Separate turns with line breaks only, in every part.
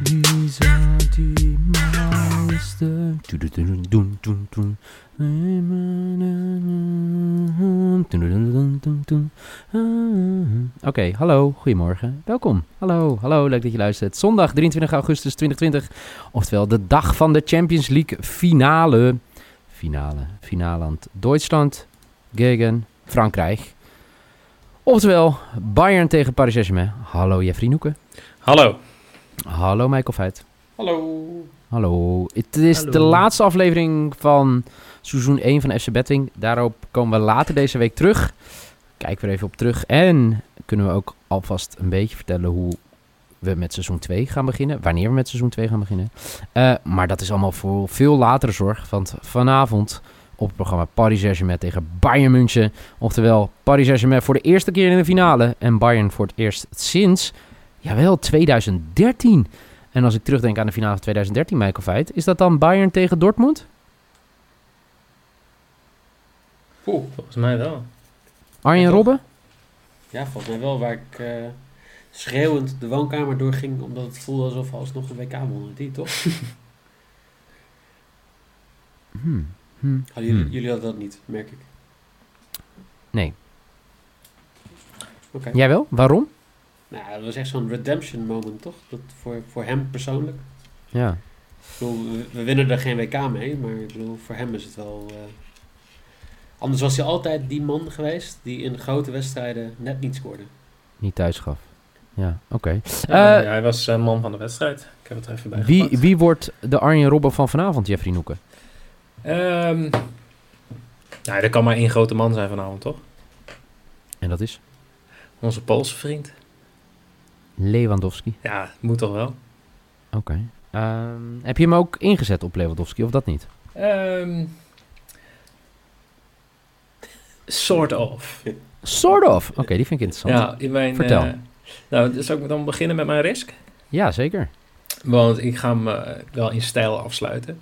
Lisa die meister. Oké, hallo, goedemorgen. Welkom. Hallo, hallo, leuk dat je luistert. Zondag 23 augustus 2020, oftewel de dag van de Champions League finale. Finale, finaland Duitsland gegen Frankrijk. Oftewel, Bayern tegen Paris Saint-Germain. Hallo Jeffrey Noeken.
Hallo.
Hallo Michael Feit.
Hallo.
Hallo. Het is
Hallo.
de laatste aflevering van seizoen 1 van FC Betting. Daarop komen we later deze week terug. Kijken we er even op terug. En kunnen we ook alvast een beetje vertellen hoe we met seizoen 2 gaan beginnen. Wanneer we met seizoen 2 gaan beginnen. Eh, maar dat is allemaal voor veel latere zorg. Want vanavond op het programma Paris Saint-Germain tegen Bayern München. Oftewel Paris Saint-Germain voor de eerste keer in de finale. En Bayern voor het eerst sinds, jawel, 2013. En als ik terugdenk aan de finale van 2013, Michael Feit, is dat dan Bayern tegen Dortmund?
Oeh, volgens mij wel.
Arjen
Ja, toch?
Robben?
Ja, volgens mij wel. Waar ik eh, schreeuwend de woonkamer doorging, omdat het voelde alsof we alsnog een WK wonnen. Die toch?
Hmm, hmm,
Hadden jullie,
hmm.
jullie hadden dat niet, merk ik.
Nee.
Oké.
Jij wel? Waarom?
Nou, dat was echt zo'n redemption moment, toch? Dat voor, voor hem persoonlijk.
Ja.
Ik bedoel, we, we winnen er geen WK mee, maar ik bedoel, voor hem is het wel. eh, Anders was hij altijd die man geweest die in grote wedstrijden net niet scoorde.
Niet thuis gaf. Ja, oké.
Ja,
Eh,
hij was eh, man van de wedstrijd. Ik heb het er even bij
Wie,
gepakt.
wie wordt de Arjen Robben van vanavond, Jeffrey Noeken?
Ehm, nou, er kan maar één grote man zijn vanavond, toch?
En dat is
Onze Poolse vriend.
Lewandowski.
Ja, moet toch wel?
Oké. Ehm, heb je hem ook ingezet op Lewandowski, of dat niet?
Ehm sort of.
Sort of. Oké, die vind ik interessant. Ja,
Ja, in mijn,
Vertel.
eh, nou, dus zal ik dan beginnen met mijn risk?
zeker.
Want ik ga hem eh, wel in stijl afsluiten.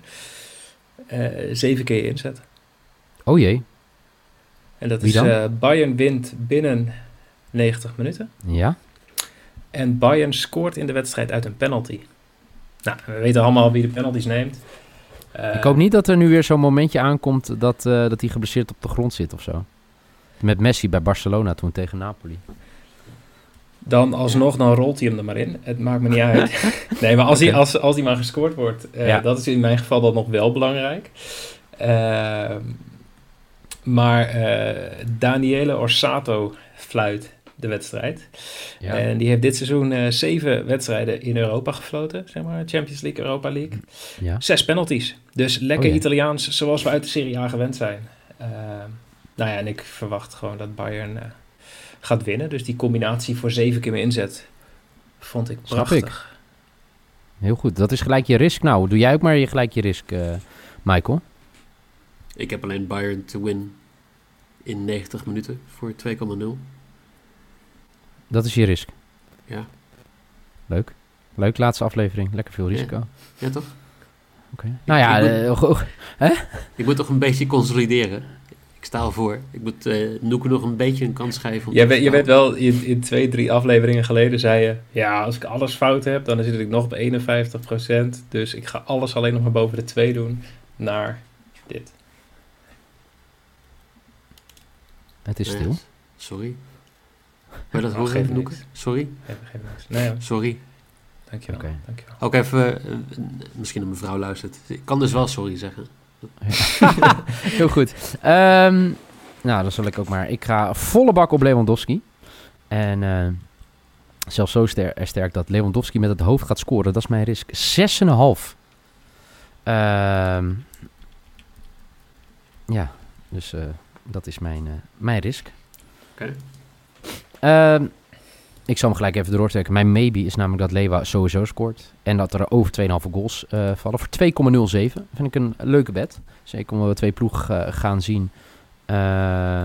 Eh, zeven keer inzetten.
Oh jee.
En dat
Wie
is
dan?
eh, Bayern wint binnen 90 minuten.
Ja?
En Bayern scoort in de wedstrijd uit een penalty. Nou, we weten allemaal wie de penalties neemt. Eh,
ik hoop niet dat er nu weer zo'n momentje aankomt dat, eh, dat hij geblesseerd op de grond zit of zo. Met Messi bij Barcelona toen tegen Napoli.
Dan alsnog, dan rolt hij hem er maar in. Het maakt me niet uit. nee, maar als, hij,
Oké.
als, als hij maar gescoord wordt, eh,
Ja.
dat is in mijn geval dan nog wel belangrijk. Ehm, maar eh Daniele Orsato fluit de wedstrijd. En die heeft dit seizoen eh, zeven wedstrijden in Europa gefloten. Zeg maar, Champions League, Europa League.
ja.
Zes penalties. Dus lekker
Oh ja.
Italiaans zoals we uit de Serie A gewend zijn. Eh, nou ja, en ik verwacht gewoon dat Bayern eh, gaat winnen. Dus die combinatie voor zeven keer meer inzet vond ik
Snap
prachtig.
Heel goed, dat is gelijk je risk. Nou, doe jij ook maar je gelijk je risk, eh, Michael.
Ik heb alleen Bayern to win in 90 minuten voor 2,0.
Dat is je risk.
Ja.
Leuk. Leuk, laatste aflevering. Lekker veel
Ja.
risico.
Ja, toch?
Oké. Nou ja,
ik
eh, go-
Ik moet toch een beetje consolideren. Ik sta al voor. Ik moet eh Noeke nog een beetje een kans geven. om
Jij
te
weet, je weet
vertalen.
wel, in, in twee, drie afleveringen geleden zei je... Ja, als ik alles fout heb, dan zit ik nog op 51%. Dus ik ga alles alleen nog maar boven de twee doen naar dit.
het is
Nee,
stil.
Sorry. Maar dat
Oh,
hoor
geeft
even, Noeke.
niks.
Sorry.
Even geen niks. Nee, hoor.
Sorry.
dankjewel.
Oké.
dankjewel.
Ook even, eh, misschien een mevrouw luistert. Ik kan dus wel sorry zeggen.
Heel goed. Ehm, nou, dan zal ik ook maar. Ik ga volle bak op Lewandowski. En eh, zelfs zo ster- eh, sterk dat Lewandowski met het hoofd gaat scoren. Dat is mijn risk. 6,5. Ehm ja, dus eh, dat is mijn, eh, mijn risk.
Oké.
Ehm, ik zal hem gelijk even doortrekken. Mijn maybe is namelijk dat Lewa sowieso scoort. En dat er over 2,5 goals eh, vallen. Voor 2,07 vind ik een leuke bet. Zeker omdat we twee ploeg eh, gaan zien. eh,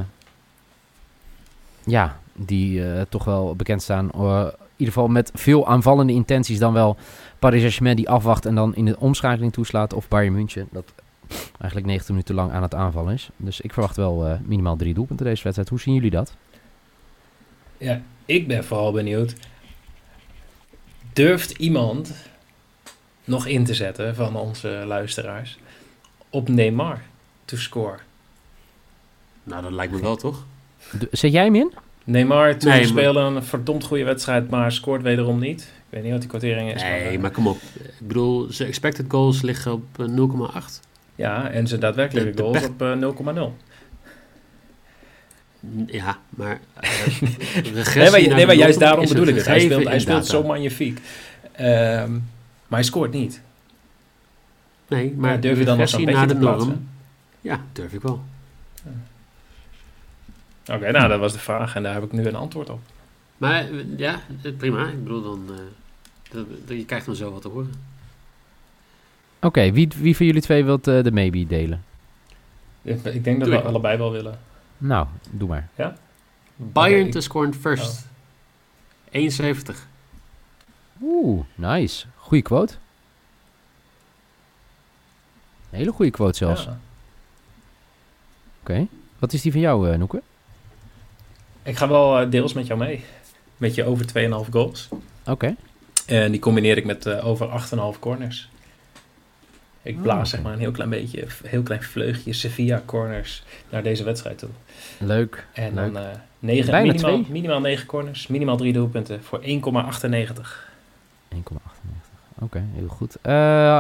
ja, die eh, toch wel bekend staan. eh, in ieder geval met veel aanvallende intenties. Dan wel Paris Saint-Germain die afwacht en dan in de omschakeling toeslaat. Of Bayern München dat eigenlijk 90 minuten lang aan het aanvallen is. Dus ik verwacht wel eh, minimaal drie doelpunten deze wedstrijd. Hoe zien jullie dat?
Ja, ik ben vooral benieuwd. Durft iemand nog in te zetten van onze luisteraars op Neymar to score.
Nou, dat lijkt me wel, toch?
D- Zet jij hem in?
Neymar toen
Nee, maar-
speelde een verdomd goede wedstrijd, maar scoort wederom niet. Ik weet niet wat die kwartering is.
Nee,
eh,
maar kom op. Ik bedoel, zijn expected goals liggen op eh, 0,8.
Ja, en zijn daadwerkelijke
De- de
goals
pech-
op eh, 0,0.
Ja, maar... eh,
Nee,
regressie
maar,
naar
nee,
de
maar juist
nul
daarom
is een
bedoel ik het. Hij
gegeven
speelt, hij
in
speelt
data.
zo magnifiek. Ehm, maar hij scoort niet.
Nee, maar
Maar durf je dan nog zo'n
regressie
beetje
naar
te
de norm...
plaatsen?
Ja, durf ik wel.
Oké, nou dat was de vraag en daar heb ik nu een antwoord op.
Maar eh, ja, eh, prima. Ik bedoel, dan... eh, dat- dat- je krijgt dan zo wat te horen.
Oké, wie, wie van jullie twee wilt eh, de maybe delen?
Ik ik denk dat
Doe
we
ik.
allebei wel willen.
Nou, doe maar.
Bayern
Oké, ik-
to score in first. 71.
Oeh, nice. Goeie quote. Een hele goede quote zelfs.
Ja.
Oké. Wat is die van jou, eh Noeke?
Ik ga wel eh, deels met jou mee. Met je over 2,5 goals.
Oké.
En die combineer ik met eh, over 8,5 corners. Ik
Oh,
blaas
oké.
zeg maar een heel klein beetje, een heel klein vleugje Sevilla corners naar deze wedstrijd toe.
Leuk.
En
Leuk.
dan eh negen,
Bijna
minimaal,
twee.
minimaal 9 corners, minimaal 3 doelpunten voor 1,98. Ja,
1,98. Oké, heel goed. Eh,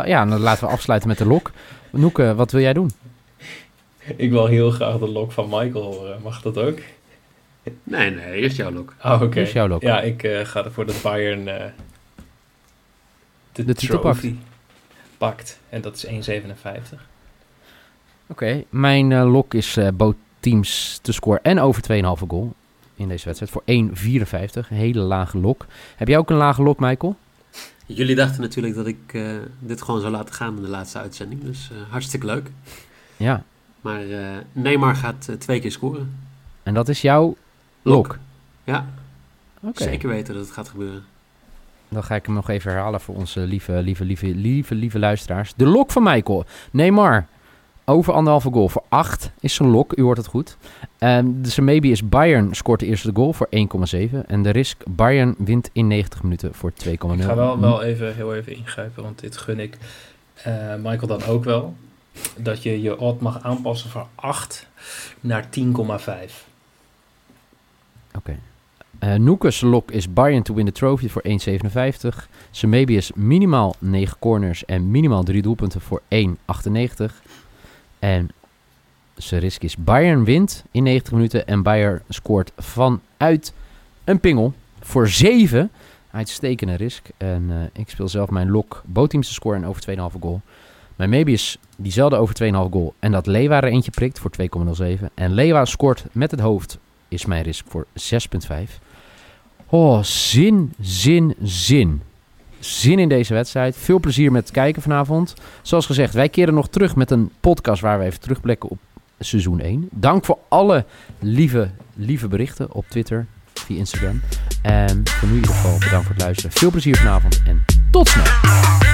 ja, dan laten we afsluiten met de lok. Noeke, wat wil jij doen?
Ik wil heel graag de lok van Michael horen. Mag dat ook?
Nee, nee, eerst jouw lok.
Oh, oké.
Wat is jouw lok?
Ja, ik eh, ga ervoor dat Bayern eh, de,
De titel pakt.
trophy pakt. En dat is 1,57.
Oké, mijn eh, lok is eh both teams te scoren en over 2,5 goal in deze wedstrijd voor 1,54. Een hele lage lok. Heb jij ook een lage lok, Michael?
Jullie dachten natuurlijk dat ik eh, dit gewoon zou laten gaan in de laatste uitzending. Dus eh, hartstikke leuk.
Ja,
Maar eh, Neymar gaat eh, twee keer scoren.
en dat is jouw lok.
Lok. Ja,
Oké,
zeker weten dat het gaat gebeuren.
dan ga ik hem nog even herhalen voor onze lieve, lieve, lieve, lieve, lieve luisteraars. De lok van Michael. Neymar, over anderhalve goal voor 8 is zijn lok, u hoort het goed. Ehm dus een maybe is Bayern scoort de eerste goal voor 1,7. En de risk Bayern wint in 90 minuten voor 2,0.
Ik ga wel, wel even heel even ingrijpen, want dit gun ik eh, Michael dan ook wel. Dat je je odd mag aanpassen van 8 naar 10,5.
Oké. Eh Noekes lok is Bayern to win the trophy voor 1,57. Semebi is minimaal 9 corners en minimaal 3 doelpunten voor 1,98. En Serisk is Bayern wint in 90 minuten en Bayern scoort vanuit een pingel voor 7. Uitstekende risk. En eh, ik speel zelf mijn lok. Bootteams te scoren en over 2,5 goal. Mijn maybe is diezelfde over 2,5 goal. En dat Lewa er eentje prikt voor 2,07. En Lewa scoort met het hoofd is mijn risk voor 6,5. Oh, zin, zin, zin. Zin in deze wedstrijd. Veel plezier met het kijken vanavond. Zoals gezegd, wij keren nog terug met een podcast waar we even terugblikken op seizoen 1. Dank voor alle lieve, lieve berichten op Twitter, via Instagram. En voor nu in ieder geval bedankt voor het luisteren. Veel plezier vanavond en tot snel.